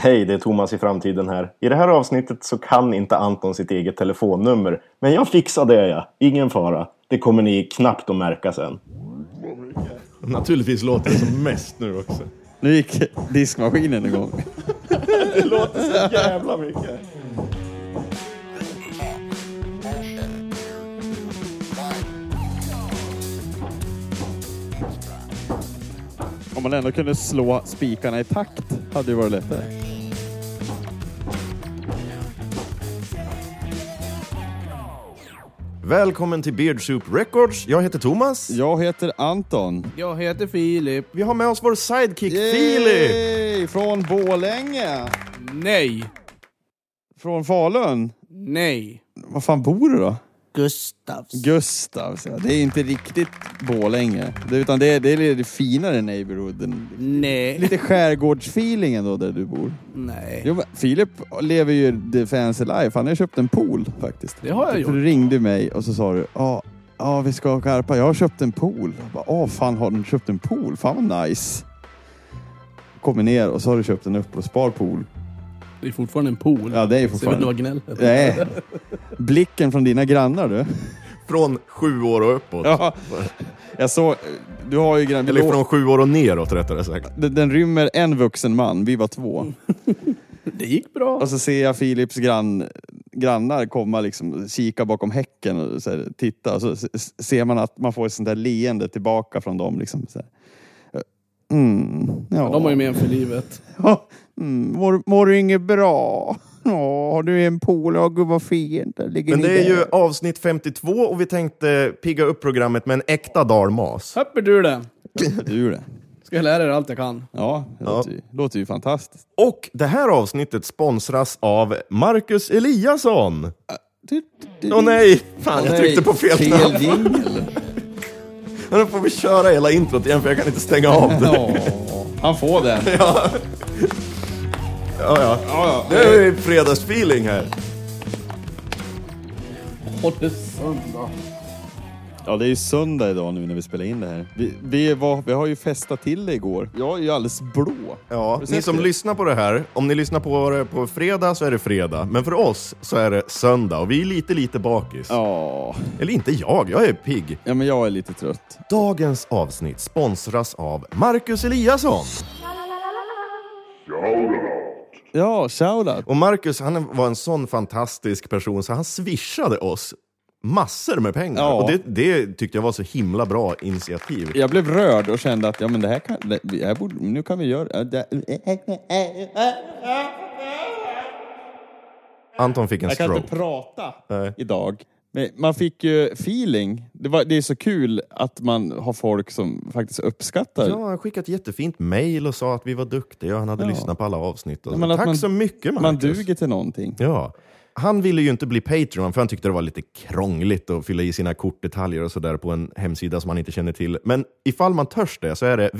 Hej, det är Thomas i framtiden här. I det här avsnittet så kan inte Anton sitt eget telefonnummer. Men jag fixar det, ja. Ingen fara. Det kommer ni knappt att märka sen. Naturligtvis låter det som mest nu också. Nu gick diskmaskinen igång. Det låter så jävla mycket. Om man ändå kunde slå spikarna i takt hade ju varit lättare. Välkommen till Beard Soup Records. Jag heter Thomas. Jag heter Anton. Jag heter Filip. Vi har med oss vår sidekick Filip. Yay! Från Borlänge. Nej. Från Falun. Nej. Var fan bor du då? Gustavs. Gustavs. ja. Det är inte riktigt Borlänge. Det- Utan det är, det är lite finare neighborhooden. Nej. Lite skärgårdsfeeling ändå där du bor. Nej. Jo, men Filip lever ju the fancy life. Han har ju köpt en pool faktiskt. Det har jag För gjort. du ringde mig och så sa du, ja, ja vi ska karpa. Jag har köpt en pool. Jag bara, "Åh, fan har du köpt en pool? Fan vad nice. Kommer ner och så har du köpt en uppblåsbar pool. Det är fortfarande en pool. Ja, det är ju Så jag vet inte vad fortfarande... gnället är. Nej. Blicken från dina grannar du. Från sju år och uppåt. Ja. Jag såg, du har ju grannar. Eller från sju år och neråt rättare sagt. Den den rymmer en vuxen man, vi var två. Det gick bra. Och så ser jag Philips grann, grannar komma liksom, kika bakom häcken och så här, titta. Och så s- ser man att man får ett sånt där leende tillbaka från dem. Liksom, så här. Mm, ja. De har ju med en för livet. Mm, mår, mår du inget bra? Ja, har du en pool? Ja, gud vad fint. Där ligger Men ni det är där. ju avsnitt 52 och vi tänkte pigga upp programmet med en äkta dalmas. Höpper du det. Du det. Ska jag lära er allt jag kan. Ja, det Låter, ju, låter ju fantastiskt. Och det här avsnittet sponsras av Marcus Eliasson. Du- du- du- Åh nej! Fan, jag tryckte på fel knapp. Fel jingel. Nu får vi köra hela introt igen för jag kan inte stänga av det. Ja, han får den. Ja, ja. Nu är det fredagsfeeling här. Håll det söndag. Ja, det är ju söndag idag nu när vi spelar in det här. Vi, vi, var, vi har ju festat till det igår. Jag är ju alldeles blå. Ja, ni sett som det? lyssnar på det här, om ni lyssnar på det på fredag så är det fredag. Men för oss så är det söndag och vi är lite, lite bakis. Ja, Eller inte jag, jag är pigg. ja men jag är lite trött. Dagens avsnitt sponsras av Marcus Eliasson. Ja, shoutout. Och Marcus, han var en sån fantastisk person så han swishade oss massor med pengar. Ja. Och det, det tyckte jag var så himla bra initiativ. Jag blev rörd och kände att ja, men det här kan, det, vi- här borde, nu kan vi göra... äh, det- Anton fick en Jag kan inte stroke. prata Nej. idag. Men man fick ju feeling. Det, var, det är så kul att man har folk som faktiskt uppskattar. Ja, han skickade ett jättefint mejl och sa att vi var duktiga och han hade lyssnat på alla avsnitt. Och så. men att Tack man- så mycket Marcus. Man duger till någonting. Ja. Han ville ju inte bli Patreon för han tyckte det var lite krångligt att fylla i sina kortdetaljer och sådär på en hemsida som man inte känner till. Men ifall man törs det så är det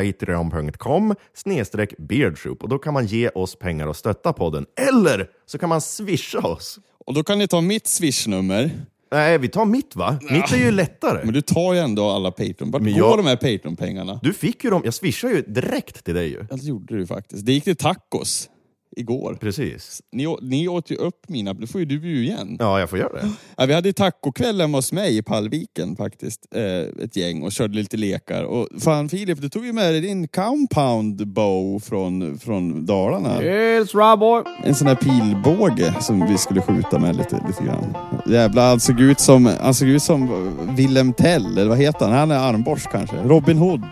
www.patreon.com snedstreck beardsoup och då kan man ge oss pengar och stötta podden. Eller så kan man swisha oss. Och då kan ni ta mitt swishnummer. Nej, vi tar mitt va? Mitt är ju lättare. Men du tar ju ändå alla Patreon. Vart Men jag- går de här Patreon-pengarna? Du fick ju dem, jag swishade ju direkt till dig ju. Ja, det Alltså, gjorde du faktiskt. Det gick till tacos igår. Precis. Ni, å- ni åt ju upp mina, det får ju du ju igen. Ja. Ja, jag får göra det. vi hade ju tacokväll hemma hos mig i Pallviken faktiskt, eh, ett gäng och körde lite lekar. Och fan Filip, du tog ju med dig din compound bow från, från Dalarna. Yes, Raboy. En sån här pilbåge som vi skulle skjuta med lite, lite grann. Jävlar, han såg ut som, han såg ut som Willem Tell, eller vad heter han? Han är armborst kanske. Robin Hood.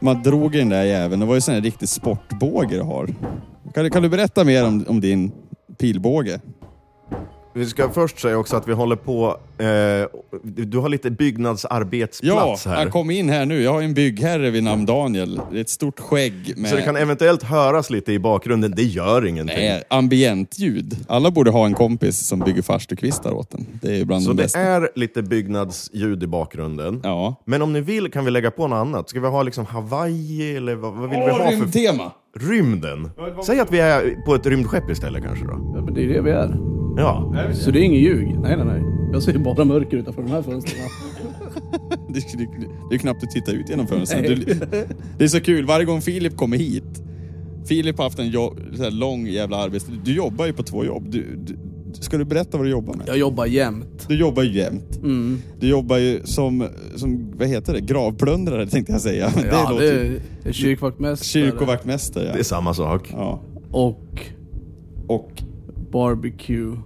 Man drog i den där jäveln. Det var ju sån här riktig sportbåge du har. Kan, du- kan du berätta mer om, om din pilbåge? Vi ska först säga också att vi håller på... Eh, du har lite Ja, byggnadsarbetsplats här. han kom in här nu. Jag har en byggherre vid namn Daniel. Det är ett stort skägg med Så det kan eventuellt höras lite i bakgrunden. Det gör ingenting. eh, ambientljud. Alla borde ha en kompis som bygger farstukvistar åt en. Det är bland Så de det bästa. är lite byggnadsljud i bakgrunden. Ja. Men om ni vill kan vi lägga på något annat. Ska vi ha liksom Hawaii eller vad, vad vill vi ha Åh, för... rymdtema! Rymden? Säg att vi är på ett rymdskepp istället kanske då. Ja, men det är det vi är. Ja. Så det är ingen ljug. Nej, nej, nej. Jag ser bara mörker utanför de här fönstren. Det, det, det är ju knappt att titta ut genom fönstret. Du, det är så kul, varje gång Filip kommer hit Filip har haft en jobb, så här lång jävla arbetstid. Du jobbar ju på två jobb. Du, du, ska du berätta vad du jobbar med? Jag jobbar jämt. Du jobbar ju jämt. Mm. Du jobbar ju som, som vad heter det, gravplundrare tänkte jag säga. Men det ja, låter ju... det är kyrkvaktmästare. Kyrkovaktmästare. Det är samma sak. Ja. Och Och barbecue.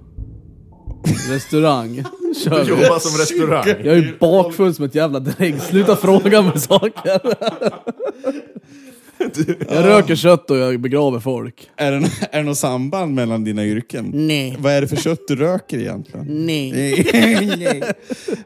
Restaurang. Kör vi. Jobba som restaurang. Jag är ju bakfull som ett jävla dräng. Sluta fråga mig saker. Jag röker kött och jag begraver folk. är det, är det något samband mellan dina yrken? Nej. Vad är det för kött du röker egentligen? Nej. I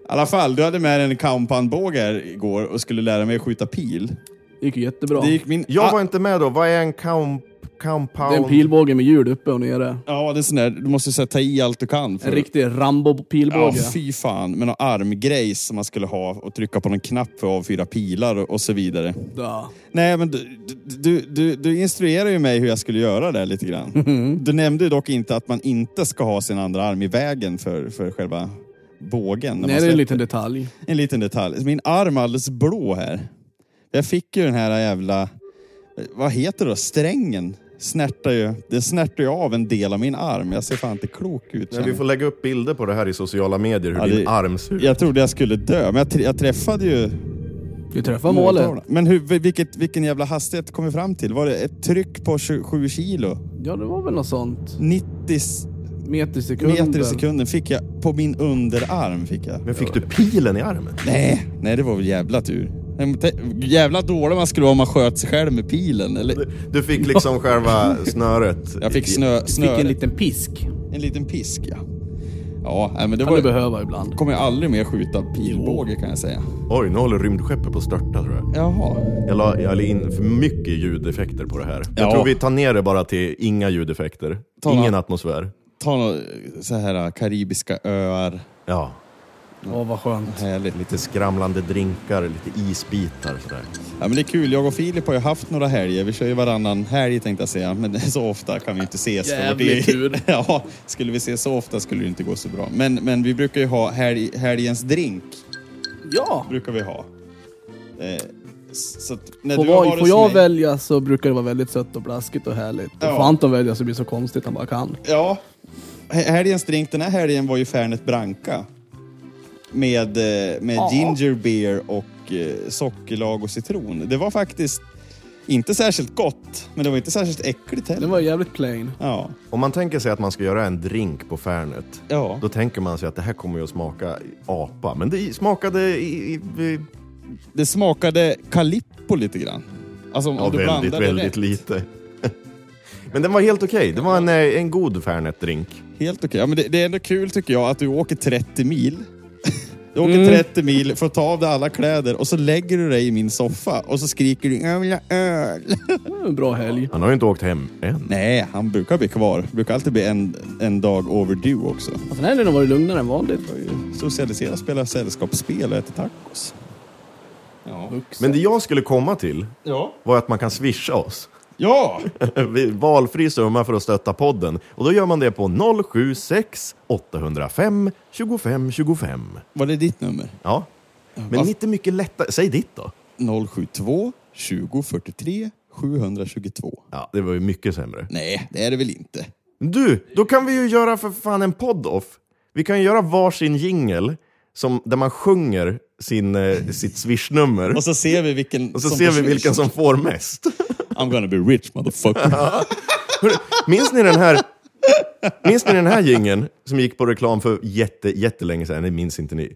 alla fall, du hade med dig en kampanbåge här igår och skulle lära mig att skjuta pil. Det gick ju jättebra. Det gick min... Jag ah, var inte med då. Vad är en comp, compound? Det är en pilbåge med hjul uppe och nere. Ja, det är sån där, du måste så här, ta i allt du kan. För... En riktig Ja, Rambo-pilbåge. fy fan. Med någon armgrejs som man skulle ha och trycka på någon knapp för att avfyra pilar och, och så vidare. Ja, Nej, men du, du, du, du instruerade ju mig hur jag skulle göra det lite grann. Mhm. Du nämnde ju dock inte att man inte ska ha sin andra arm i vägen för, för själva bågen. när man Nej, det är en släpper. liten detalj. En liten detalj. Min arm är alldeles blå här. Jag fick ju den här jävla... Vad heter det då? Strängen. Snärtar ju, det snärtar ju av en del av min arm. Jag ser fan inte klok ut. Nej, känner vi får lägga upp bilder på det här i sociala medier, hur Ja, din det- arm ser ut. jag trodde jag skulle dö, men jag, tr- jag träffade ju... Du träffar målet. Men hur, vilket, vilken jävla hastighet kom vi fram till? Var det ett tryck på 27 kilo? Ja, det var väl något sånt. 90 s- Meter i sekunden. meter i sekunden fick jag på min underarm. Fick jag. Men fick du pilen i armen? Nej, nej, det var väl jävla tur. Nej, men te- Jävla dålig man skulle vara om man sköt sig själv med pilen. Eller? Du fick liksom själva snöret. Jag fick snö, Fick en snöret. liten pisk. En liten pisk, ja. Ja, nej, men det Kan du var... behöva ibland. Kommer jag aldrig mer skjuta pilbåge kan jag säga. Oj, nu håller rymdskeppet på att störta tror jag. Jaha. Jag la, jag la in för mycket ljudeffekter på det här. Jag Ja. tror vi tar ner det bara till inga ljudeffekter. Ta Ingen några- atmosfär. Ta några så här äh, karibiska öar. Ja, Åh, vad skönt. Härligt. lite skramlande drinkar, lite isbitar sådär. Ja, men det är kul. Jag och Filip har ju haft några helger. Vi kör ju varannan helg tänkte jag säga. Men så ofta kan vi inte ses. för Jävlig det- tur. ja, skulle vi ses så ofta skulle det inte gå så bra. Men, men vi brukar ju ha helg, helgens drink. Ja! Brukar vi ha. Eh, s- så att när Får, du har var, varit får hos jag mig- välja så brukar det vara väldigt sött och blaskigt och härligt. Ja. Och får Anton välja så blir det så konstigt han bara kan. Ja. He- Helgens drink den här helgen var ju Fernet Branca. Med, eh, med Ja. ginger beer och eh, sockerlag och citron. Det var faktiskt inte särskilt gott, men det var inte särskilt äckligt Den heller. var jävligt plain. Ja. Om man tänker sig att man ska göra en drink på Färnet, Ja. då tänker man sig att det här kommer ju att smaka apa. Men det smakade i... i, i Det smakade Calippo lite grann. Alltså om, ja, om du väldigt, blandade väldigt rätt. lite. Men den var helt okej. Det var en, eh, en god Färnet-drink. Helt okej. Ja, men det, det är ändå kul tycker jag att du åker 30 mil. Du åker 30 mil, får ta av dig alla kläder och så lägger du dig i min soffa och så skriker du jag vill ha öl. Det var En bra helg. Han har ju inte åkt hem än. Nej, han brukar bli kvar. Brukar alltid bli en, en dag overdue också. Alltså, den här helgen har varit lugnare än vanligt. Socialisera, spela sällskapsspel och äta tacos. Ja. Men det jag skulle komma till Ja. var att man kan swisha oss. Ja! Vi- Valfri summa för att stötta podden. Och då gör man det på 076 805 25 25. Var det ditt nummer? Ja. Mm, Men inte mycket lättare. Säg ditt då. 072 20 43 722. Ja, det var ju mycket sämre. Nej, det är det väl inte. Du, då kan vi ju göra för fan en podd-off. Vi kan ju göra varsin jingel som- där man sjunger sin, eh, sitt swishnummer. Och så ser vi vilken Och så som ser vi försvinner. vilken som får mest. I'm gonna be rich motherfucker. Hörru, Minns ni den här Minns ni den här gingen som gick på reklam för jätte, jättelänge sedan? Det minns inte ni.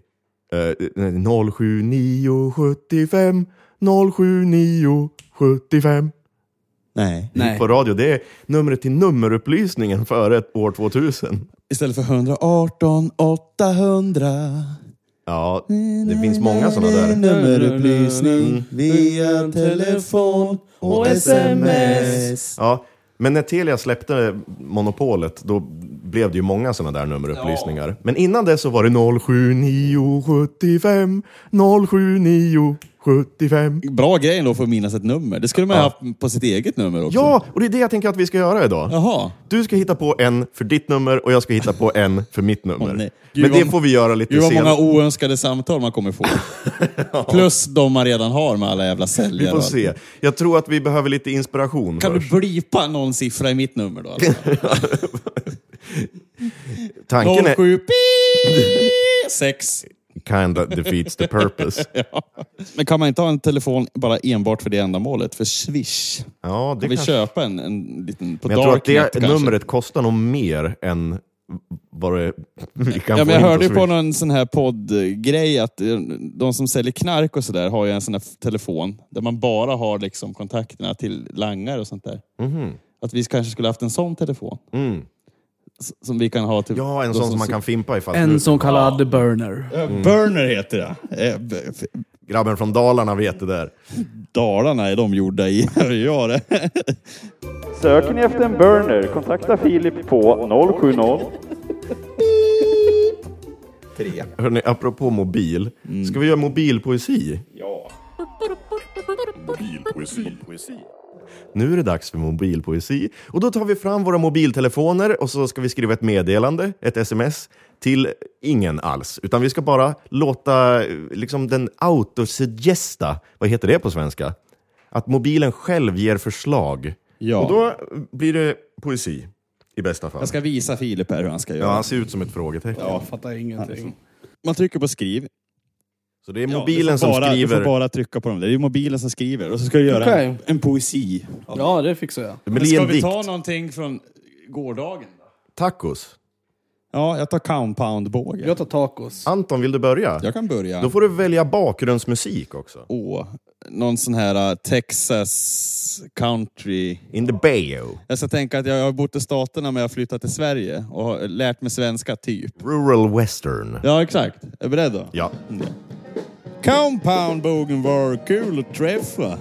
Uh, 07975 07975 Nej. Nej. på radio. Det är numret till nummerupplysningen före år 2000. Istället för 118 800. Ja, det finns många sådana där. Mm. Nummerupplysning via telefon och sms. Ja, men när Telia släppte monopolet, då blev det ju många sådana där nummerupplysningar. Men innan det så var det 07975 07975. Bra grej ändå för att minnas ett nummer. Det skulle man Ja. ha haft på sitt eget nummer också. Ja, och det är det jag tänker att vi ska göra idag. Jaha. Du ska hitta på en för ditt nummer och jag ska hitta på en för mitt nummer. Åh, nej. Gud, Men det vad- får vi göra lite Gud vad senare. många oönskade samtal man kommer få. Plus de man redan har med alla jävla säljare. Vi får och allt. se. Jag tror att vi behöver lite inspiration Kan först. du blipa någon siffra i mitt nummer då? Alltså? Tanken är 07 6. kinda defeats the purpose. Men kan man inte ha en telefon bara enbart för det ändamålet? För Swish? Ja, det Kan vi kanske... köpa en, en liten... På Men jag tror att det Darknet kanske? numret kostar nog mer än vad det vi kan få Ja, men jag in hörde ju Swish. på någon sån här poddgrej att eh, de som säljer knark och sådär har ju en sån här f- telefon där man bara har liksom kontakterna till langare och sånt där. Att vi kanske skulle haft en sån telefon. Mhm. Mm. S- Som vi kan ha till... Ja, en de sån Mm. som man kan fimpa ifall En nu, som kallad burner. Burner heter det. Eh, b- f- grabben från Dalarna vet det där. Dalarna är de gjorda i. ja, det. Söker ni efter en burner, kontakta Filip på 070 Hörrni, apropå mobil. Ska vi göra mobilpoesi? Nu är det dags för mobilpoesi. Och då tar vi fram våra mobiltelefoner och så ska vi skriva ett meddelande, ett sms, till ingen alls. Utan vi ska bara låta eh, liksom, den autosuggesta, vad heter det på svenska? Att mobilen själv ger förslag. Ja. Och då blir det poesi, i bästa fall. Jag ska visa Filip här hur han ska Ja, göra. han ser ut som ett frågetecken. Jag fattar ingenting. Man trycker på skriv. Så det är Ja, mobilen du får som bara, Du skriver. får bara trycka på dem. Det är ju mobilen som skriver. Och så ska du göra Okej. en, en poesi. Ja, det fixar jag. Men det är en dikt. någonting från gårdagen? Tacos. Ja, jag tar compoundbåge. Jag tar tacos. Anton, vill du börja? Jag kan börja. Då får du välja bakgrundsmusik också. Åh, någon sån här eh, Texas country. Alltså, In the Bayo. Jag ska tänka att jag har bott i Staterna men jag har flyttat till Sverige och har lärt mig svenska, typ. Rural Western. Ja, exakt. Är du beredd då? Ja. Compoundbågen var kul att träffa.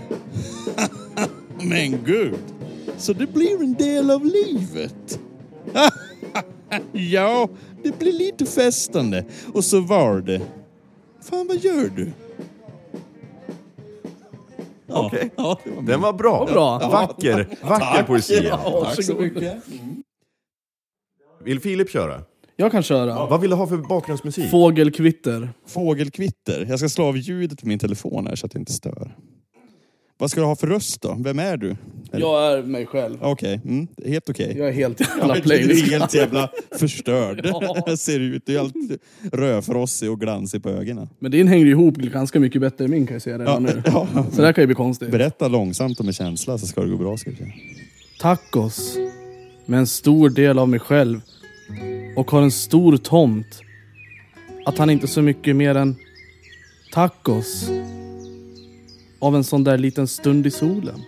men gud, så det blir en del av livet. ja, det blir lite festande. Och så var det. Fan, vad gör du? Ja, Okej. ja, det var Den var bra. bra. Vacker. Vacker poesi. Tack så mycket. Vill Filip köra? Jag kan köra. Vad vill du ha för bakgrundsmusik? Fågelkvitter. Fågelkvitter. Jag ska slå av ljudet på min telefon här så att det inte stör. Vad ska du ha för röst då? Vem är du? Jag är mig själv. Okej, mm, helt okej. Jag är helt jävla Du är playlist. helt jävla förstörd. Ja. Ser ut. Du är helt rödfrossig och glansig på ögonen. Men din hänger ihop ganska mycket bättre än min kan jag säga redan nu. Ja. Så det här kan ju bli konstigt. Berätta långsamt och med känsla så ska det gå bra. Ska jag säga. tacos med en stor del av mig själv och har en stor tomt. Att han inte så mycket mer än tacos av en sån där liten stund i solen.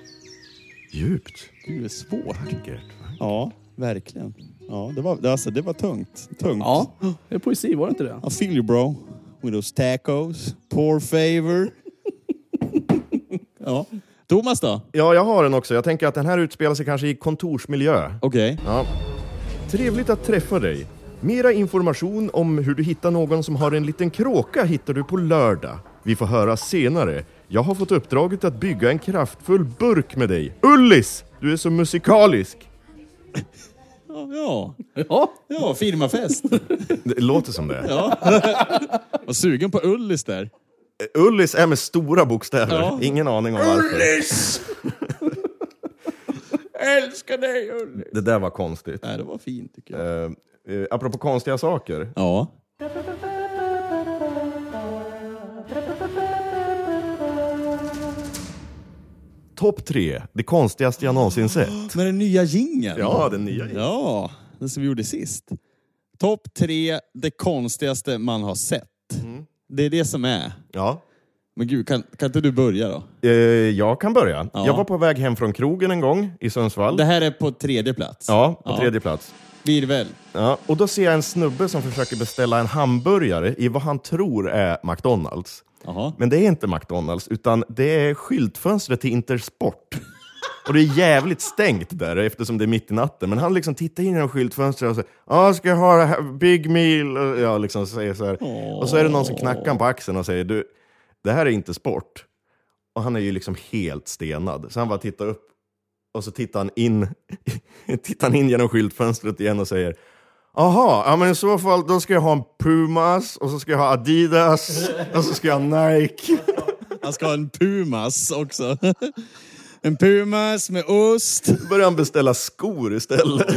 Djupt. Gud, det är svårt. Vackert. Ja, verkligen. Ja, det var, det- alltså, det var tungt. Tungt. Ja, det är poesi, var det inte det? I feel you bro. With those tacos. Poor favor. ja. Thomas då? Ja, jag har den också. Jag tänker att den här utspelar sig kanske i kontorsmiljö. Okej. Ja. Trevligt att träffa dig. Mera information om hur du hittar någon som har en liten kråka hittar du på lördag. Vi får höra senare. Jag har fått uppdraget att bygga en kraftfull burk med dig. Ullis! Du är så musikalisk! Ja, Ja, ja, firmafest. Det låter som det. Var sugen på Ullis där. Eh, Ullis är med stora bokstäver. Ja. Ingen aning om varför. Ullis! Älskar dig Ullis! Det där var konstigt. Nej, det var fint tycker jag. Uh, apropå konstiga saker. Ja. Topp tre, det konstigaste jag någonsin sett. Med den nya jingeln. Ja, den nya. Ja, den som vi gjorde sist. Topp tre, det konstigaste man har sett. Mm. Det är det som är. Ja. Men gud, kan, kan inte du börja då? Eh, jag kan börja. Ja. Jag var på väg hem från krogen en gång i Sundsvall. Det här är på tredje plats. Ja, på tredje plats. Virvel. Ja, och då ser jag en snubbe som försöker beställa en hamburgare i vad han tror är McDonalds. Jaha. Men det är inte McDonalds, utan det är skyltfönstret till Intersport. Och det är jävligt stängt där eftersom det är mitt i natten. Men han liksom tittar in genom skyltfönstret och säger Ja, ska jag ha det här, Big Meal? Och jag liksom säger så här. Och så är det någon som knackar honom på axeln och säger du, det här är inte sport. Och han är ju liksom helt stenad. Så han bara tittar upp och så tittar han in, tittar han in genom skyltfönstret igen och säger Aha, ja men i så fall då ska jag ha en Pumas och så ska jag ha Adidas och så ska jag ha Nike. Han ska ha en Pumas också. En Pumas med ost. Då började han beställa skor istället.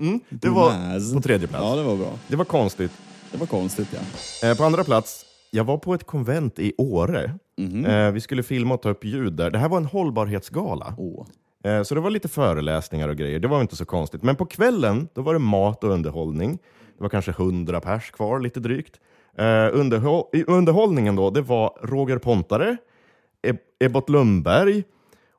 Mm, det var Pumas. på tredje plats. Ja, det var bra. Det var konstigt. Det var konstigt ja. Eh, på andra plats, jag var på ett konvent i Åre. Eh, vi skulle filma och ta upp ljud där. Det här var en hållbarhetsgala. Åh. Eh, så det var lite föreläsningar och grejer. Det var inte så konstigt. Men på kvällen, då var det mat och underhållning. Det var kanske 100 pers kvar, lite drygt. Eh, underhå- i underhållningen då, det var Roger Pontare, Eb- Ebbot Lundberg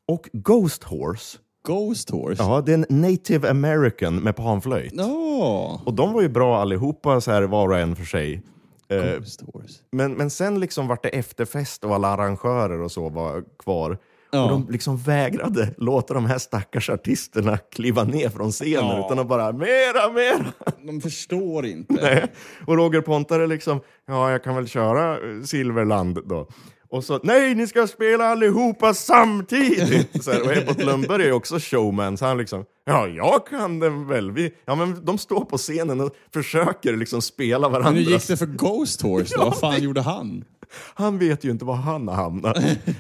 och Ghost Horse. Ghost Horse. Ja, det är en native american med panflöjt. Ja. Och de var ju bra allihopa, så här, var och en för sig. Eh, Ghost Horse. men, men sen liksom vart det efterfest och alla arrangörer och så var kvar. Och de liksom vägrade låta de här stackars artisterna kliva ner från scenen utan de bara mera, mera. De förstår inte. Och Roger Pontare liksom, ja jag kan väl köra eh, Silverland då. Och så, nej ni ska spela allihopa samtidigt! Så här, och Ebbot Lundberg är också showman, så han liksom, ja jag kan den väl. Vi, ja men de står på scenen och försöker liksom spela Men varandra. hur gick det för Ghost Horse då? Vad fan gjorde han? Han vet ju inte var han har hamnat.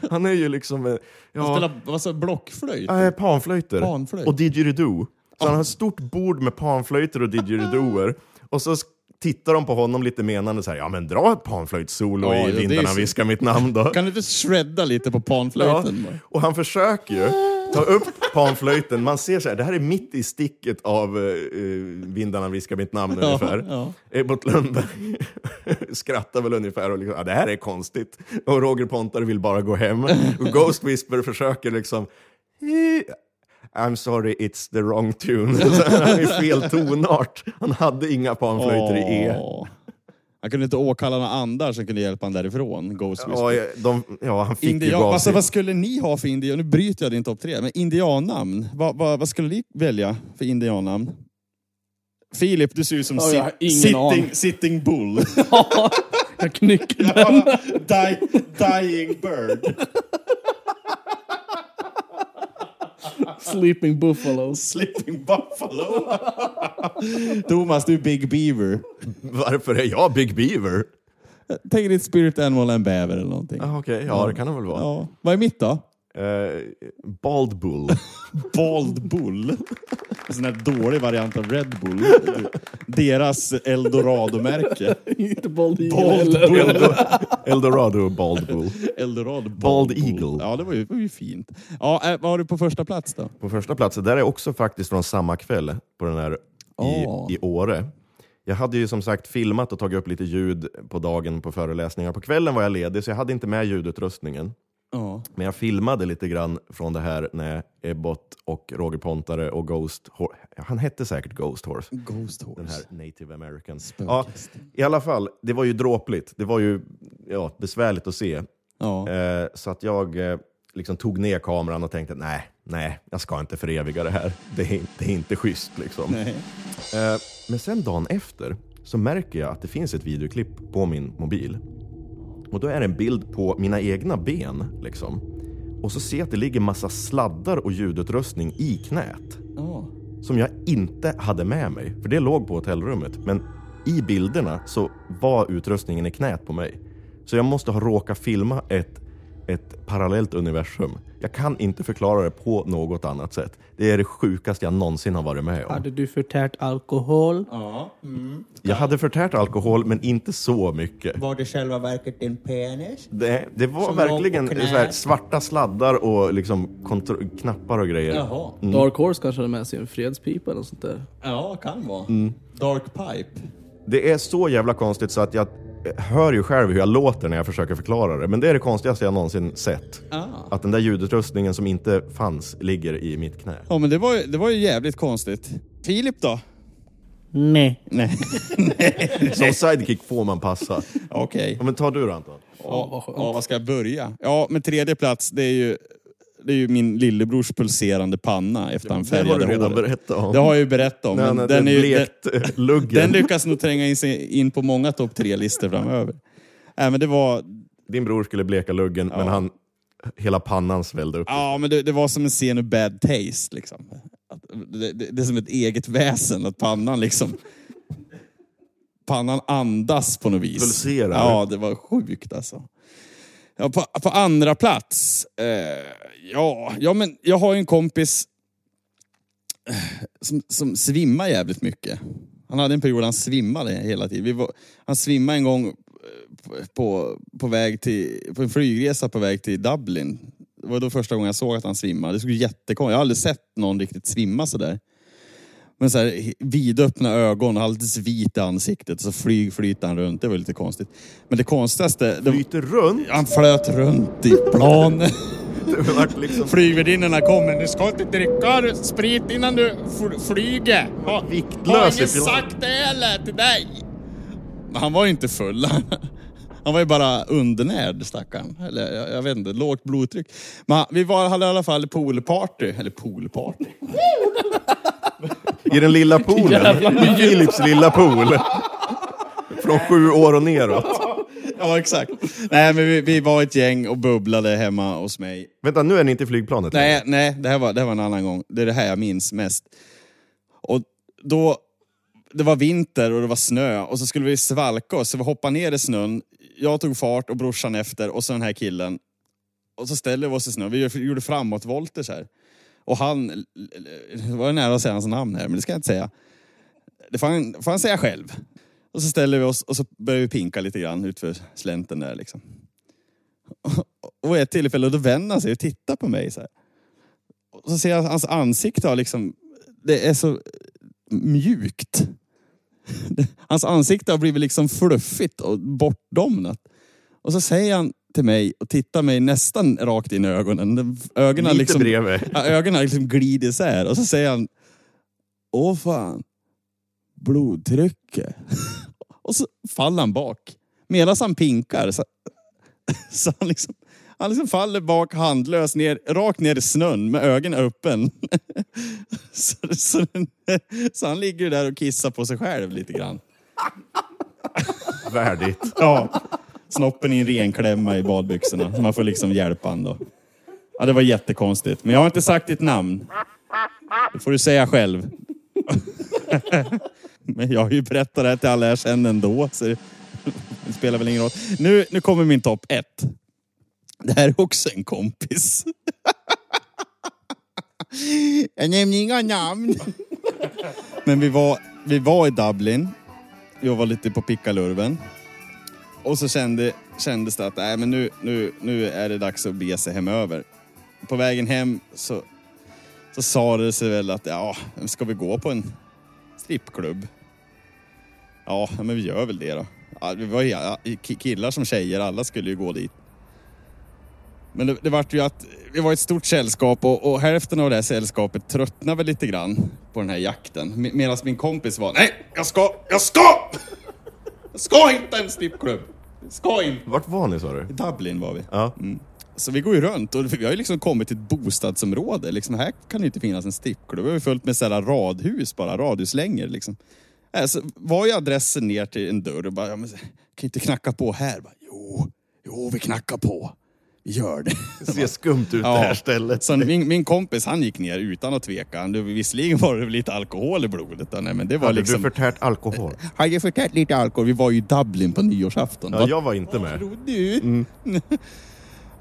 Han är ju liksom... eh, Han Ja, spelade vad sa, blockflöjt. äh, panflöjter. Panflöjt. Och didgeridoo. Så han har ett stort bord med panflöjter och didgeridooer. Och så s- tittar de på honom lite menande så här, ja men dra ett panflöjtsolo Ja, ja, i det är vindarna så- viskar mitt namn då. Kan du inte shredda lite på Ja, panflöjten? bara? och han försöker ju ta upp panflöjten. Man ser så här, det här är mitt i sticket av eh, eh, Vindarna viskar mitt namn ungefär. ja. Ebbot Lundberg skrattar väl ungefär och liksom, ja, det här är konstigt. Och Roger Pontare vill bara gå hem. Och Ghost Whisper försöker liksom, "Eh, I'm sorry, it's the wrong tune. Så Han är i fel tonart. Han hade inga panflöjter i E. Åh. Han kunde inte åkalla några andar som kunde hjälpa honom därifrån, Ghost Whisper. Ja, de, ja, han fick ju Indian, gå av alltså, sig. vad skulle ni ha för indian? Nu bryter jag din topp tre, men indiannamn. Vad, vad, vad skulle ni välja för indiannamn? Filip, du ser ut som Ja, jag har ingen aning. sitting, sitting bull. Ja, jag knycker den. Die, dying bird. Sleeping buffaloes. Sleeping buffalo. Thomas, du är big beaver. Varför är jag Big Beaver? Tänk ditt spirit animal, en bäver eller någonting. Ah, Okej, ja det kan han väl vara. Ja. Vad är mitt då? Eh, bald Bull. Bald Bull. En sån här dålig variant av Red Bull. Deras eldorado-märke. Inte Bald Eagle Bald heller. Bull. Eldorado Bald Bull. Eldorado. Bald, Eagle. Ja, det var ju, det var ju fint. Ja, äh, vad har du på första plats då? På första platsen, där är också faktiskt från samma kväll på den här i, Ah. i Åre. Jag hade ju som sagt filmat och tagit upp lite ljud på dagen på föreläsningar. På kvällen var jag ledig så jag hade inte med ljudutrustningen. Ja. Men jag filmade lite grann från det här när Ebbot och Roger Pontare och Ghost Horse, han hette säkert Ghost Horse, Ghost Horse. Den här native american. Ja, I alla fall, det var ju dråpligt. Det var ju ja, besvärligt att se. Ja. Eh, så att jag eh, liksom tog ner kameran och tänkte nej, nej, jag ska inte föreviga det här. Det är, det är inte schysst liksom. Nej. Eh, men sen dagen efter så märker jag att det finns ett videoklipp på min mobil. Och då är det en bild på mina egna ben liksom. Och så ser jag att det ligger massa sladdar och ljudutrustning i knät Ja. som jag inte hade med mig, för det låg på hotellrummet. Men i bilderna så var utrustningen i knät på mig. Så jag måste ha råkat filma ett, ett parallellt universum. Jag kan inte förklara det på något annat sätt. Det är det sjukaste jag någonsin har varit med om. Hade du förtärt alkohol? Jag hade förtärt alkohol, men inte så mycket. Var det själva verket din penis? Det, det var Som verkligen låg på så knät. här svarta sladdar och liksom kontro- knappar och grejer. Jaha. Mm. Dark Horse kanske hade med sig en fredspipa eller något sånt där. Ja, kan vara. Dark Pipe. Det är så jävla konstigt så att jag eh, hör ju själv hur jag låter när jag försöker förklara det. Men det är det konstigaste jag någonsin sett. Ah. Att den där ljudutrustningen som inte fanns ligger i mitt knä. Ja, men det var, ju- det var ju jävligt konstigt. Filip då? Nej. Nej. Som sidekick får man passa. Okej. Ja, men ta du då Anton. Ja, vad ska jag börja? Ja, men tredje plats, det är ju det är ju min lillebrors pulserande panna efter han Det har färgade du redan håret. berättat om. Det har jag ju berättat om. Nej, men nej, den, är den ju, den, blekt eh, luggen. den lyckas nog tränga in, sig in på många topp tre-listor framöver. Nej, men det var, Din bror skulle bleka luggen, men han, hela pannan svällde upp. ja, men det, det var som en scen ur Bad Taste. Liksom. Att, det, det, det är som ett eget väsen, att pannan liksom... Pannan andas på något vis. Pulserar. Ja, det var sjukt alltså. Ja, på, på andra plats. Eh, ja, ja, men jag har ju en kompis eh, som, som svimmar jävligt mycket. Han hade en period han svimmade hela tiden. Vi var, han svimmade en gång eh, på- på, på, väg till, på en flygresa på väg till Dublin. Det var då första gången jag såg att han svimmade. Det såg jättekonstigt Jag har aldrig sett någon riktigt svimma sådär. Men så här, vidöppna ögon, alldeles vit i ansiktet. Så flyg flyter han runt. Det var lite konstigt. Men det konstigaste... Det, Byter runt. han flöt runt i planen. Det vart liksom Flygvärdinnorna kom. Men du ska inte dricka sprit innan du fl- flyger. Ha, ha viktlös i ingen piloten. sagt det heller till dig. Men Han var ju inte full. Han var ju bara undernärd stackarn. Eller jag, jag vet inte, lågt blodtryck. Men han- vi var, hade i alla fall poolparty. Eller poolparty. I den lilla poolen. I Philips lilla pool. Från sju år och neråt. Ja, exakt. Nej, men vi, vi var ett gäng och bubblade hemma hos mig. Vänta, nu är ni inte i flygplanet. Nej, nej det, här var, det här var en annan gång. Det är det här jag minns mest. Och då, det var vinter och det var snö och så skulle vi svalka oss. Så vi hoppade ner i snön. Jag tog fart och brorsan efter och så den här killen. Och så ställde vi oss i snön. Vi gjorde framåtvolter så här. Och han, det var nära att säga hans namn här, men det ska jag inte säga. Det får han, får han säga själv. Och så ställer vi oss och så börjar vi pinka lite grann utför slänten där liksom. Och vid ett tillfälle då vänder han sig och tittar på mig så här. Och så ser jag att hans ansikte har liksom, det är så mjukt. Hans ansikte har blivit liksom fluffigt och bortdomnat. Och så säger han till mig och tittar mig nästan rakt in i ögonen. Ögonen Lite liksom, bredvid. Ja, ögonen liksom glider isär och så säger han Åh fan, blodtrycket. Och så faller han bak. Medan han pinkar så, så han liksom han liksom faller bak handlös ner, rakt ner i snön med ögonen öppen. Så, så, så han ligger där och kissar på sig själv lite grann. Värdigt. Ja. Snoppen i en renklämma i badbyxorna. Så man får liksom hjälpa han då. Ja, det var jättekonstigt. Men jag har inte sagt ditt namn. Det får du säga själv. Men jag har ju berättat det här till alla jag känner ändå. Så det det spelar väl ingen roll. Nu, nu kommer min topp ett. Det här är också en kompis. Jag nämner inga namn. Men vi var, vi var i Dublin. Jag var lite på pickalurven. Och så kände, kändes det att nej, men nu, nu, nu är det dags att bege sig hemöver. På vägen hem så, så sa det sig väl att ja, ska vi gå på en strippklubb? Ja, men vi gör väl det då. Ja, vi var ju, ja, ki- killar som tjejer, alla skulle ju gå dit. Men det, det vart ju att vi var ett stort sällskap och, och hälften av det här sällskapet tröttnade väl lite grann på den här jakten. Me- Medan min kompis var, nej, jag ska, jag ska! Jag ska hitta en strippklubb! Jag Ska in! Vart var ni sa du? I Dublin var vi. Ja. Så vi går ju runt och vi har ju liksom kommit till ett bostadsområde. Liksom, här kan det inte finnas en strippklubb. Vi har ju fullt med sådana radhus bara, radhuslängor liksom. Äh, så var ju adressen ner till en dörr och bara, ja, men, kan ju inte knacka på här. Bara, jo, jo, vi knackar på. Vi gör det. Det ser skumt ut det här stället. Så min, min kompis han gick ner utan att tveka. Han, visserligen var det lite alkohol i blodet. då, Nej, men det var Hade liksom... du förtärt alkohol? Har jag förtärt lite alkohol? Vi var ju i Dublin på nyårsafton. Ja, va? jag var inte med. Tror du?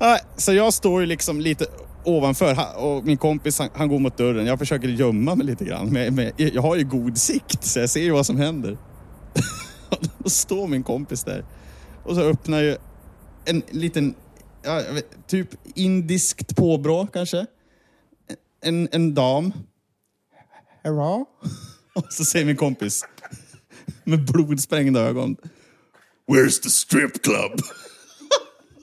Nej, så jag står ju liksom lite ovanför ha- och min kompis han, han går mot dörren. Jag försöker gömma mig lite grann. Men, men jag har ju god sikt så jag ser ju vad som händer. Och Då står min kompis där. Och så öppnar ju en liten, ja, jag vet, typ indiskt påbrå kanske. En, en dam. Hurra. Och så säger min kompis med blodsprängda ögon. Where's the strip club?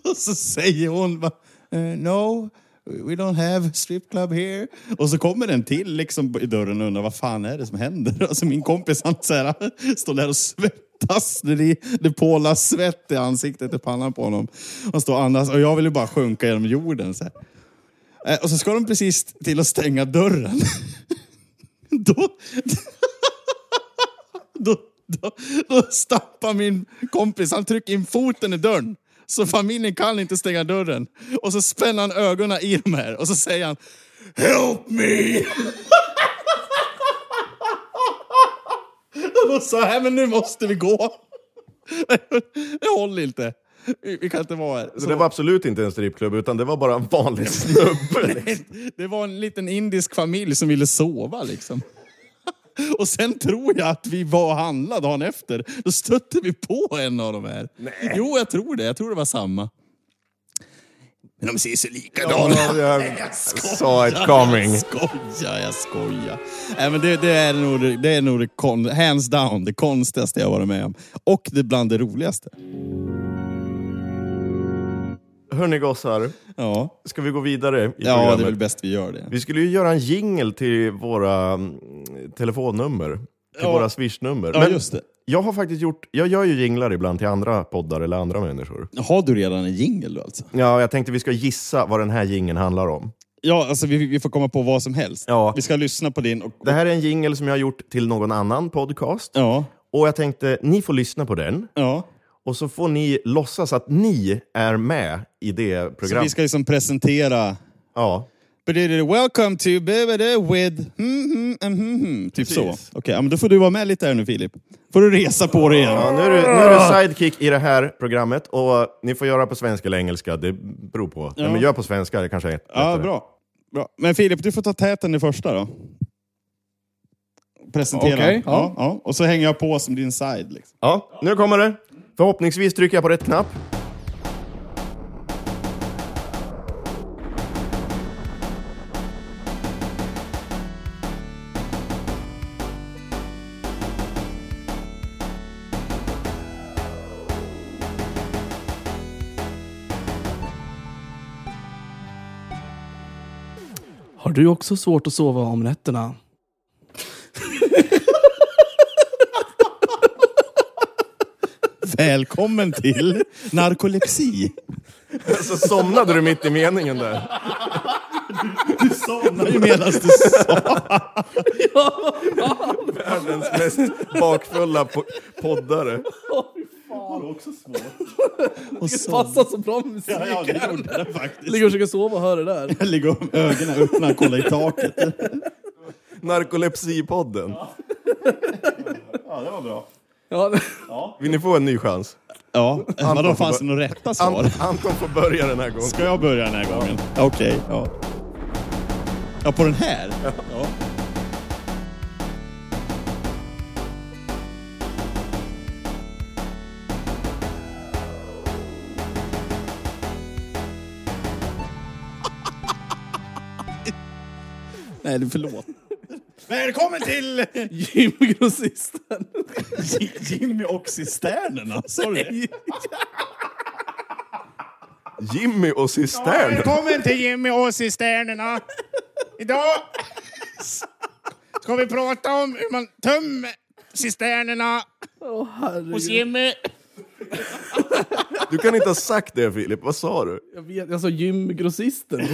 och så säger hon bara, "Eh, no, we don't have strip club here. Och så kommer den till liksom i dörren och undrar vad fan är det som händer? Alltså min kompis han så här, står där och svettas. Det, det pålar svett i ansiktet och pannan på honom. Han står och andas och jag vill ju bara sjunka genom jorden. Så här. Eh, Och så ska de precis till att stänga dörren. Då... Då, då, då stappar min kompis, han trycker in foten i dörren. Så familjen kan inte stänga dörren. Och så spänner han ögonen i de här och så säger han Help me! Och då sa jag, "Nej, men nu måste vi gå. Det håller inte. Vi vi kan inte vara här. Så det var absolut inte en strippklubb, utan det var bara en vanlig snubbe. liksom. Det var en liten indisk familj som ville sova liksom. Och sen tror jag att vi var och handlade dagen efter. Då stötte vi på en av de här. Jo, jag tror det. Jag tror det var samma. Men de ser så likadana Ja, jag saw it coming. Jag skojar, jag skojar. Nej, men det, det är nog, det- det, är nog det kon, hands down det konstigaste jag varit med om. Och det bland det roligaste. Hörni gossar, Ja, ska vi gå vidare i ja det är väl programmet? bäst vi gör det. Vi skulle ju göra en jingle till våra mm, telefonnummer. Till Ja. våra swishnummer. Ja, just det. jag har faktiskt gjort, jag gör ju jinglar ibland till andra poddar eller andra människor. Har du redan en jingel då alltså? Ja, jag tänkte vi ska gissa vad den här jingeln handlar om. Ja, alltså vi, vi får komma på vad som helst. Ja. Vi ska lyssna på din och... Det här är en jingle som jag har gjort till någon annan podcast. Ja, Och jag tänkte, ni får lyssna på den. ja. Och så får ni låtsas att ni är med i det Så vi programmet. ska liksom presentera... Ja. Welcome to BBD with... Mm, mm, mm, mm, mm. Typ så. Okej, Precis. ja, men då får du vara med lite här nu Filip. får du resa på dig igen. Ja, nu, är du, nu är du sidekick i det här programmet och ni får göra på svenska eller engelska, det beror på. Nej, men gör på svenska, det kanske är Ja, lättare. bra. bra. Men Filip, du får ta täten i första då. Presentera. Okej, ja. ja. Ja, Och så hänger jag på som din side. Liksom. Ja, nu kommer det. Förhoppningsvis trycker jag på rätt knapp. Har du också svårt att sova om nätterna? Välkommen till narkolepsi. Så somnade du mitt i meningen där. Medan du sa... Världens mest bakfulla po- poddare. Och Det så... passar så bra med musiken. Ja, ja, det gjorde det faktiskt. Ligger och försöker sova och hör det där. Jag ligger och ögonen öppna och kollar i taket. Narkolepsipodden. Ja, Vill ni få en ny chans? Ja, men då Anton fanns får det några rätta Ant- svar. Anton får börja den här gången. Ska jag börja den här gången? Okej. ja. ja, på den här? Ja. Nej, du, förlåt. Välkommen till gymgrossisten. Jimmy och cisternerna. Sa du det? Jimmy och Cistern. Välkommen till Jimmy och cisternerna. Idag ska vi prata om hur man tömmer cisternerna hos Jimmy. Du kan inte ha sagt det Filip, vad sa du? Jag vet, jag sa gymgrossisten.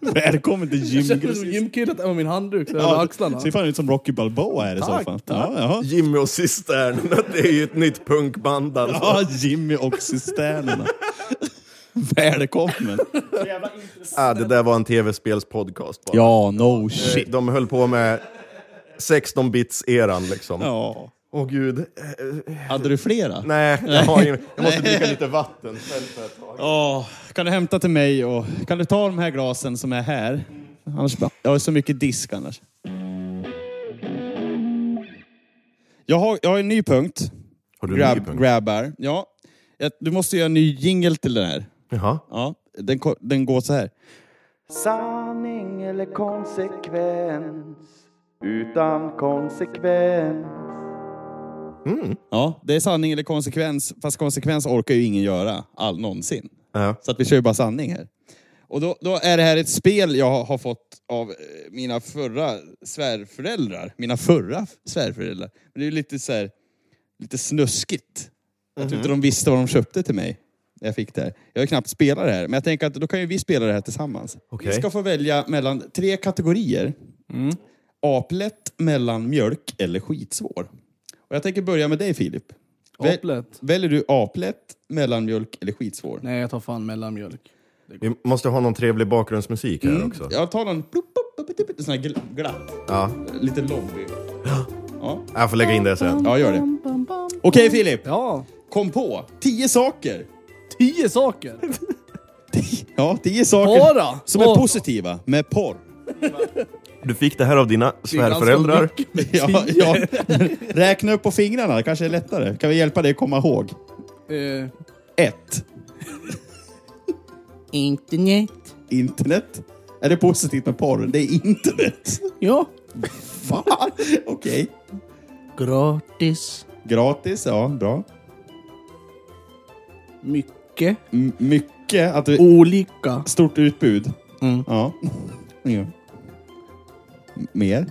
Välkommen till Jag känner som gymgrossisten. gymkillat över min handduk så över axlarna. Ser fan ut som Rocky Balboa här i så fall. Ja, ja. Jimmy och Cistern, det är ju ett nytt punkband alltså. ja, Jimmy och cisternerna. Välkommen. Ah, det där var en tv-spelspodcast bara. Ja, no shit. De höll på med 16-bits-eran liksom. Åh Ja. gud. Eh, Hade du flera? Nej, jag, har ingen... jag måste dricka lite vatten. Ja, kan du hämta till mig och kan du ta de här glasen som är här? Annars, jag har så mycket disk annars. Jag har, jag har en ny punkt. Har du en ny Grab, punkt? grabbar. Ja. Jag- Du måste göra en ny jingle till den här. Jaha. Ja, den, ko- den går så här. Sanning eller konsekvens? Utan konsekvens. Mm. Ja, det är sanning eller konsekvens. Fast konsekvens orkar ju ingen göra all någonsin. Ja. Så att vi kör ju bara sanning här. Och då, då är det här ett spel jag har fått av eh, mina förra svärföräldrar. Mina förra f- svärföräldrar. Men det är ju lite så här, lite snuskigt. Jag tror inte de visste vad de köpte till mig. jag fick det här. Jag har ju knappt spelat det här, men jag tänker att då kan ju vi spela det här tillsammans. Okej. Vi ska få välja mellan tre kategorier. Aplätt, mellanmjölk eller skitsvår. Och jag tänker börja med dig Filip. Väl- Aplätt? Väljer du aplätt, mellanmjölk eller skitsvår? Nej, jag tar fan mellanmjölk. Vi måste ha någon trevlig bakgrundsmusik här också. Jag tar någon plupp, plupp, plupp, plupp, sån här gl- glatt. Ja. Lite lobby. Ja. Jag får lägga in det sen. ja, gör det. Okej Filip, Ja, kom på tio saker. tio saker! Ja, tio saker Bara? som är Bara. positiva med porr. Du fick det här av dina svärföräldrar. Ganska mycket. Ja, ja. Räkna upp på fingrarna, det kanske är lättare. Kan vi hjälpa dig att komma ihåg? Eh, Ett, Internet. Internet. Är det positivt med porr? Det är internet. ja. Fan! Okej. Gratis. Gratis, ja, bra. Mycket. M- mycket, att du... Olika. Stort utbud. Ja. Mm. ja. M- Mer?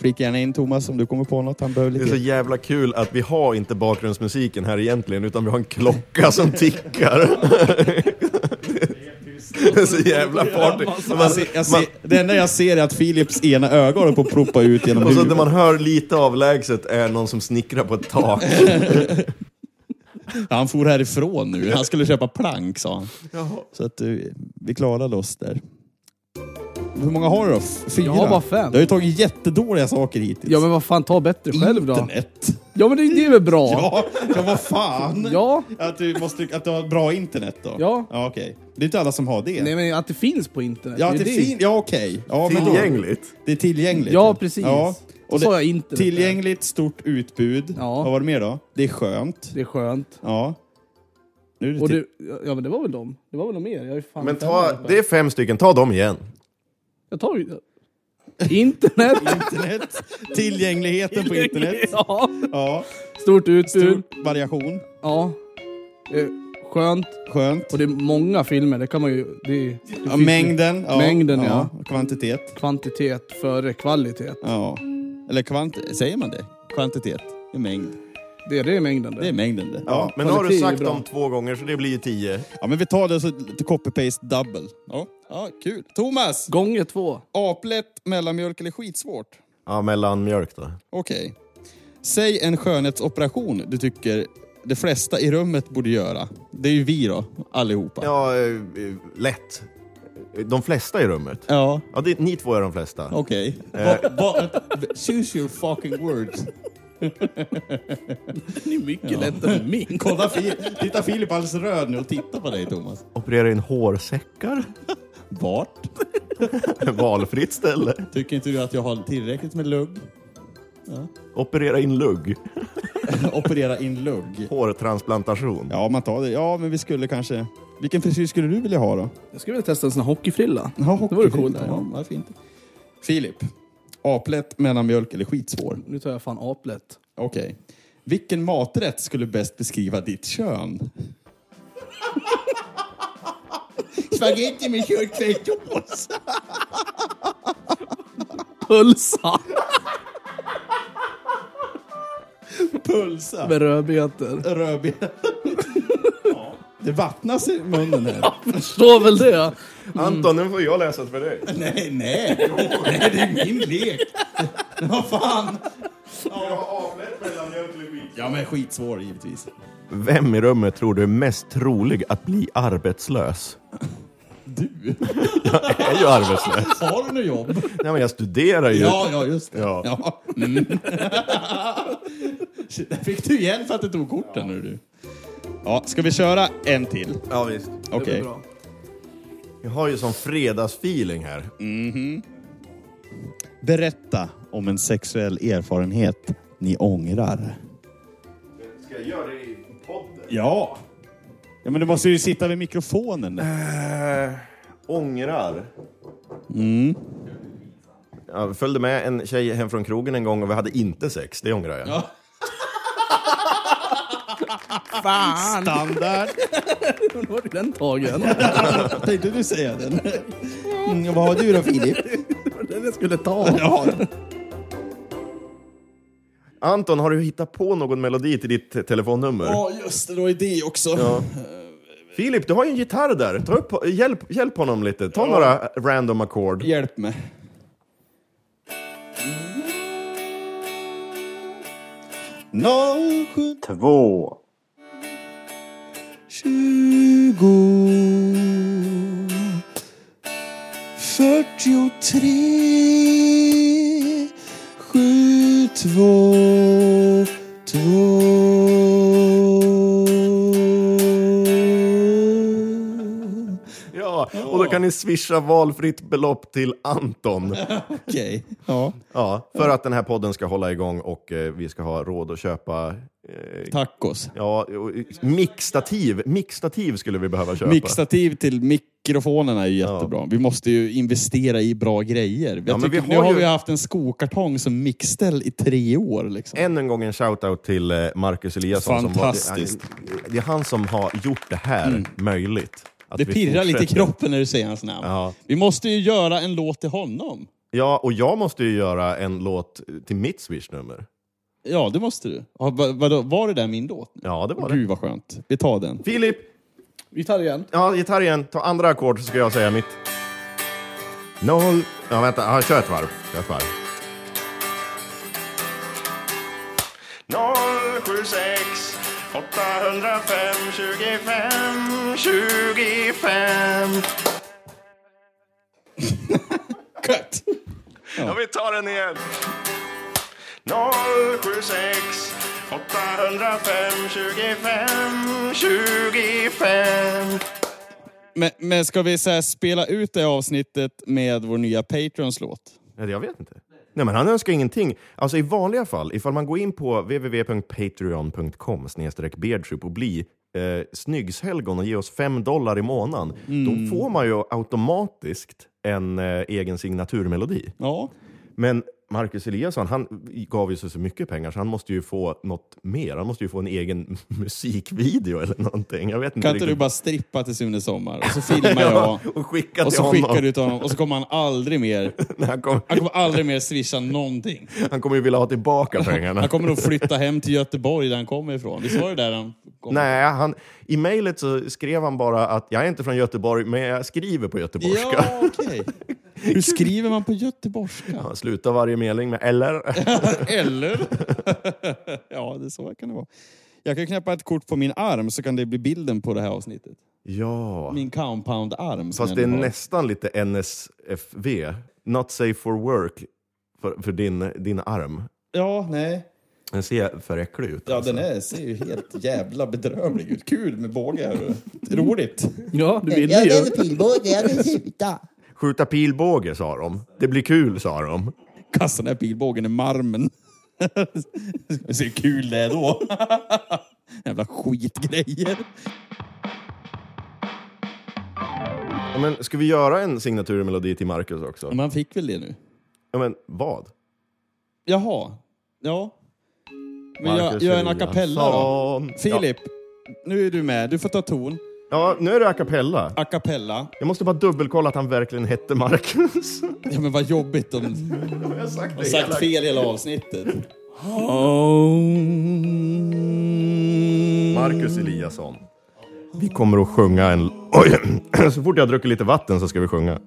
Flika gärna in Thomas om du kommer på något. Han behöver Det är så lite... jävla kul att vi har inte bakgrundsmusiken här egentligen, utan vi har en klocka som tickar. Det är så jävla party. Man, Jag ser, jag ser, det enda jag ser är att Philips ena öga håller på att proppa ut genom och så det huvudet. man hör lite avlägset är någon som snickrar på ett tak. Han for härifrån nu. Han skulle köpa plank, sa han. Så att du, vi klarade oss där. Hur många har du då? F- Fyra? Jag har bara fem. Du har ju tagit jättedåliga saker hittills. Ja men vad fan, ta bättre själv då. Internet. Ja men det, det är väl bra? Ja, ja vad fan. Ja. Att, du måste, att du har bra internet då? Ja. ja okej. Det är inte alla som har det. Nej men att det finns på internet. ja, är det det. är fin, ja okej. Ja, men då- Tillgängligt. Det är tillgängligt. Ja, precis. Ja. Då sa jag internet. Tillgängligt, stort utbud. Ja. Vad var det mer då? Det är skönt. Det är skönt. Ja. Nu är det Och till- du, ja men det var väl dem? Det var väl de mer? Jag är ju fan Men fem ta, här. det är fem stycken, ta dem igen. Jag tar ju... Internet! internet. Tillgängligheten på internet. ja. Ja. Stort utbud. Stor variation. Ja. Eh, Skönt. Skönt. Och det är många filmer, det kan man ju... Det är, det Ja, finns ju mängden. Ja. Mängden, Kvantitet. Kvantitet före kvalitet. Ja. Eller kvant... Säger man det? Kvantitet. Det är mängd. Det, är- det är mängden Det är det. mängden det. Ja, men nu har du kvalitet är sagt bra. dem två gånger så det blir ju tio. Ja, men vi tar det så lite copy-paste double. Ja. ja, kul. Thomas! Gånger två. Aplätt, mellanmjölk eller skitsvårt? Ja, mellanmjölk då. Okej. Säg en skönhetsoperation du tycker de flesta i rummet borde göra. Det är ju vi då, allihopa. Ja, eh, eh, lätt. De flesta i rummet. Ja, Ja, det, ni två är de flesta. okej. Choose your fucking words. Det är mycket lättare än min. Kolla, Fi- titta Filip alldeles röd nu och titta på dig Thomas. Operera in hårsäckar. Vart? Valfritt ställe. Tycker inte du att jag har tillräckligt med lugg? Operera in lugg. Operera in lugg. Hårtransplantation. Ja, man tar det. Ja, men vi skulle kanske... Vilken frisyr skulle du vilja ha då? Jag skulle vilja testa en sån här hockeyfrilla. Ja, det vore coolt. Ja, vad fint. Filip. Aplätt, mellanmjölk eller skitsvår? Nu tar jag fan aplätt. Okej. Vilken maträtt skulle bäst beskriva ditt kön? Spagetti med köttfärssås. Pölsa! Pulsa. Med rödbetor. Rödbeta. Det vattnas i munnen här. Förstår väl det? Anton, nu får jag läsa för dig. nej, nej. nej, det är min lek. Vad fan. Ja, men skitsvår givetvis. Vem i rummet tror du är mest trolig att bli arbetslös? Du? Jag är ju arbetslös. Har du något jobb? Nej, men jag studerar ju. Ja, ja, just det. Ja. Ja. Mm. Shit, Där fick du igen för att du tog korten. Ja. Du. Ja, ska vi köra en till? ja visst. Okej. Bra. Jag har ju sån fredagsfeeling här. Berätta om en sexuell erfarenhet ni ångrar. Ska jag göra det i podden? Ja! Ja, men du måste ju sitta vid mikrofonen. där. ångrar. Mm. Jag följde med en tjej hem från krogen en gång och vi hade inte sex, det ångrar jag. Standard. Nu var det den tagen. Tänkte du säga den? Mm, vad har du då Filip? den jag skulle ta. Ja. Anton, har du hittat på någon melodi till ditt eh, telefonnummer? Ja, just det. Det var ju det också. Filip, du har ju en gitarr där. Ta upp, hjälp, hjälp honom lite. Ta några random ackord. Hjälp mig. Noll sju- Två. tjugo fyrtiotre sju två två Ja, och då kan ni swisha valfritt belopp till Anton. Okej, ja. Ja, för att den här podden ska hålla igång och eh, vi ska ha råd att köpa... Eh, Tacos. ja, och- mixtativ. Mixtativ skulle vi behöva köpa. Mixtativ till mikrofonerna är ju jättebra. Vi måste ju investera i bra grejer. Jag Ja, men tycker, vi nu har har ju- vi haft en skokartong som mixställ i tre år. Liksom. Än en gång en shoutout till eh, Marcus Eliasson. Fantastiskt. Mm. Som var, det- det är han som har gjort det här möjligt. Att Det vi pirrar lite i fortsätter. kroppen när du säger hans namn. Ja. Vi måste ju göra en låt till honom. Ja, och jag måste ju göra en låt till mitt swishnummer. Ja, det måste du. Ja, va- vadå, var det där min låt? Ja, det var det. Gud vad skönt. Vi tar den. Filip, Vi tar det igen. ja, gitarr igen. Ta andra ackord så ska jag säga mitt. Noll... Ja, vänta. Ja, kör ett varv. Kör ett varv. 076 805 25 25 Cut! Ja, vi tar den igen. 076 805 25 25 Men, men ska vi så här spela ut det avsnittet med vår nya Patrons låt? Nej, jag vet inte. Nej, men han önskar ingenting. Alltså i vanliga fall, ifall man går in på www.patreon.com beardsoup och blir eh, snyggshelgon och ger oss 5 dollar i månaden, Mm. då får man ju automatiskt en eh, egen signaturmelodi. Ja. Men Marcus Eliasson, han gav ju sig så mycket pengar så han måste ju få något mer. Han måste ju få en egen musikvideo eller någonting. Jag vet inte Kan inte du riktigt. bara strippa till Sune Sommar? Och så filmar jag. och skicka Och till så honom. skickar du till honom. Och så kommer han aldrig mer... Nej, Han kommer, Han kommer aldrig mer swisha någonting. han kommer ju vilja ha tillbaka pengarna. Han kommer nog flytta hem till Göteborg där han kommer ifrån. Visst var det där han kom? Nej, han, i mejlet så skrev han bara att jag är inte från Göteborg, men jag skriver på göteborgska. Ja, okej. Hur skriver man på göteborgska? Han slutar varje mening med eller. Eller? ja, det är så kan det vara. Jag kan knäppa ett kort på min arm så kan det bli bilden på det här avsnittet. Ja, Min compound-arm. som fast jag det är nu har. nästan lite NSFV. Not safe for work. För, för din, din arm. Ja, nej. Den ser för äcklig ut. Ja, alltså. den är, ser ju helt jävla bedrövlig ut. Kul med båge. hörru. Roligt. Ja, du ville Jag ju. vill pilbåge, jag vill skjuta. Skjuta pilbåge sa de. Det blir kul sa de. Kasta den här pilbågen i marmen. Vi ser hur kul det är då. jävla skitgrejer. Ja, men ska vi göra en signaturmelodi till Marcus också? Man fick väl det nu? Ja, men vad? Jaha. Ja. Men jag, Marcus jag är en a Eliasson. cappella då. Filip, nu är du med. Du får ta ton. Ja, nu är det a cappella. A cappella. Jag måste bara dubbelkolla att han verkligen hette Marcus. Ja, men vad jobbigt om... Jag har sagt Jag har sagt fel hela avsnittet. Marcus Eliasson. Vi kommer att sjunga en... Oj! Så fort jag druckit lite vatten så ska vi sjunga.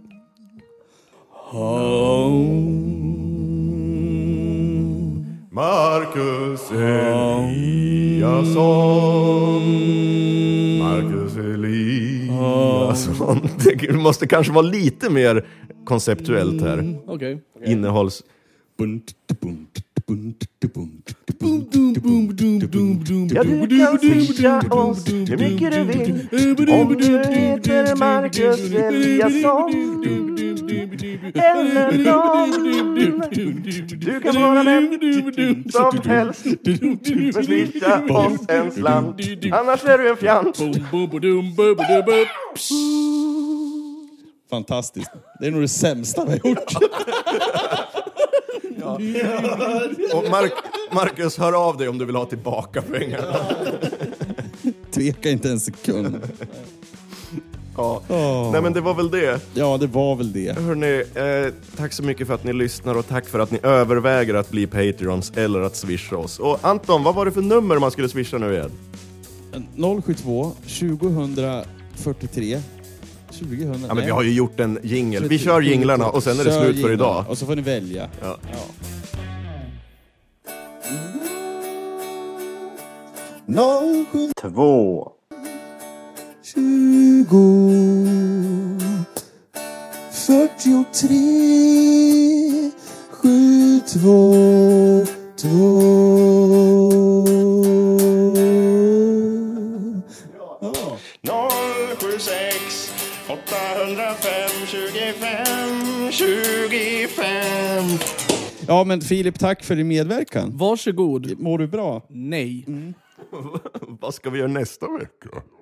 Marcus Eliasson Marcus Eliasson Det måste kanske vara lite mer konceptuellt här. Okej. Innehålls... Ja, du kan swisha oss hur mycket du vill om du heter Marcus Eliasson eller någon. Du kan vara vem som helst men swisha oss en slant annars är du en fjant. Fantastiskt. Det är nog det sämsta vi har gjort. Och Marcus, hör av dig om du vill ha tillbaka pengarna. Tveka inte en sekund. Ja. Åh. Nej men det var väl det. Ja, det var väl det. Hörrni, eh, tack så mycket för att ni lyssnar och tack för att ni överväger att bli Patreons eller att swisha oss. Och Anton, vad var det för nummer man skulle swisha nu igen? 072 2043 2000. Ja, men vi har ju gjort en jingel. Vi kör jinglarna och sen är det Kör slut för jinglarna, idag. Och så får ni välja. Ja. Noll sju Två. tjugo fyrtiotre sju två två 076 805 25 25 ja, men Filip, tack för din medverkan. Varsågod. Mår du bra? Nej. Vad ska vi göra nästa vecka?